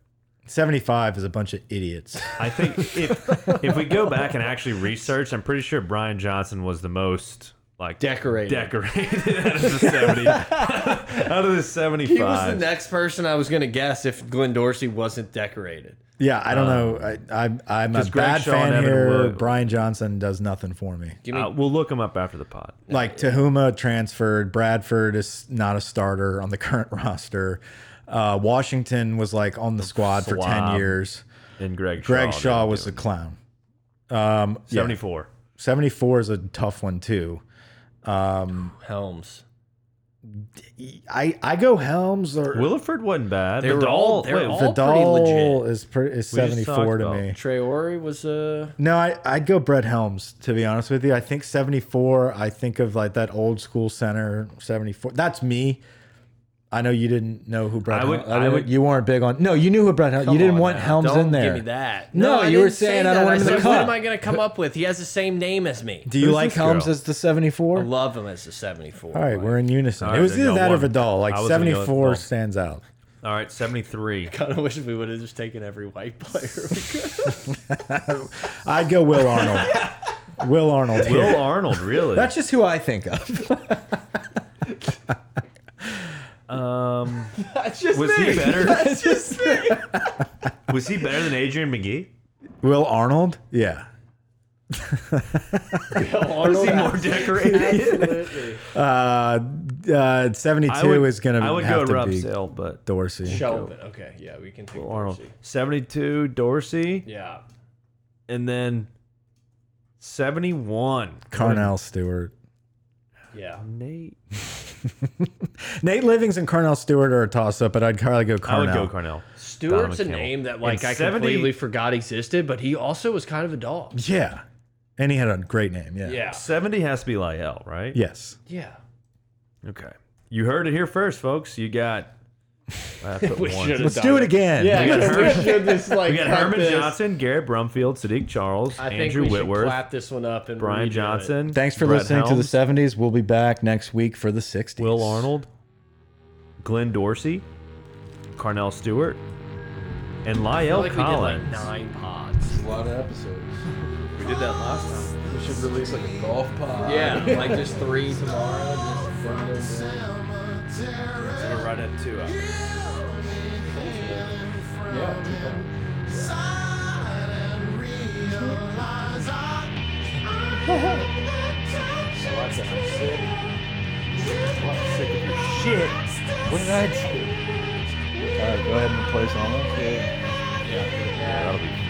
75 is a bunch of idiots.
I think if if we go back and actually research, I'm pretty sure Brian Johnson was the most like
Decorated.
decorated out of the 70 out of the 75.
He was the next person I was gonna guess if Glenn Dorsey wasn't decorated.
yeah, I don't know. I, I I'm a
'cause Um, Greg
bad
Shaw and
fan
Evan
here.
Wood-
Brian Johnson does nothing for me.
Give me
Uh, we'll look him up after the pod.
like Tahuma transferred. Bradford is not a starter on the current roster. Uh, Washington was like on the squad for ten
Slob.
years.
And Greg Shaw.
Greg
they
Shaw
were
was a
doing.
clown.
74.
Seventy four is a tough one too.
Helms.
I, I go Helms or
Williford wasn't bad.
They were all- they were
wait,
all
Vidal
legit.
is pre- is
We just
seventy four to
talked
me.
Traore was uh
No, I, I'd go Brett Helms to be honest with you. I think seventy four. I think of like that old school center seventy four. That's me. I know you didn't know who Brett.
I would-
Helms,
I would-
you weren't big on. No, you knew who Brett. Helms. You didn't
Come on
want
now,
Helms
don't
in there.
Give me that.
No,
I
you were
didn't say
saying I don't
that.
want him in
said,
the
What
cut.
am I going to come up with? He has the same name as me.
Do you
Who's
like
this girl?
Helms as the 74?
I love him as a 74.
All right, we're in unison.
All
it
right,
was
then
either
y'all
that or
won.
Vidal. Like
I was gonna go with
74
Vidal.
stands out.
All right, 73.
kind of wish we would have just taken every white player.
I'd go Will Arnold. Will Arnold. here.
Will Arnold, really?
That's just who I think of.
um,
That's just
was he better?
That's just me.
Was he better than Adrian McGee?
Will Arnold? Yeah.
Was he more decorated?
Absolutely.
Uh, uh, 72 is going
I would
to have
go
to be
Rumsell, but
Dorsey.
Shelvin. Okay, yeah, we can take
Arnold.
Dorsey.
Seventy-two Dorsey,
Yeah.
and then 71.
Carnell Stewart.
Yeah.
Nate.
Nate Livings and Carnell Stewart are a toss up, but I'd probably go
I
Carnell.
would go Carnell.
Stewart's
Donovan
a
Campbell.
name that like
In
I
70
completely forgot existed, but he also was kind of a dog.
Yeah. And he had a great name. Yeah.
Yeah.
70 has to be Lyell, right?
Yes.
Yeah.
Okay. You heard it here first, folks. You got. I put
We
one.
should have
Let's do it again.
Yeah,
We got-
we should just like
We got
cut
Herman
this.
Johnson, Garrett Brumfield, Sadiq Charles,
I think
Andrew
we should
Whitworth,
clap this one up and
Brian
redo it.
Johnson.
Thanks for
Brett
listening to the
Helms,
70s. We'll be back next week for the 60s.
Will Arnold, Glenn Dorsey, Carnell Stewart, and
I feel
Lyle
like we did
Collins.
like nine pods.
A lot of episodes.
We did that last time.
We should release like a golf pod.
Yeah, like just three tomorrow. Just
Yeah.
we're right at two. Hours.
Shit. What did I do? Alright, go ahead and play some. Okay.
Yeah, that'll be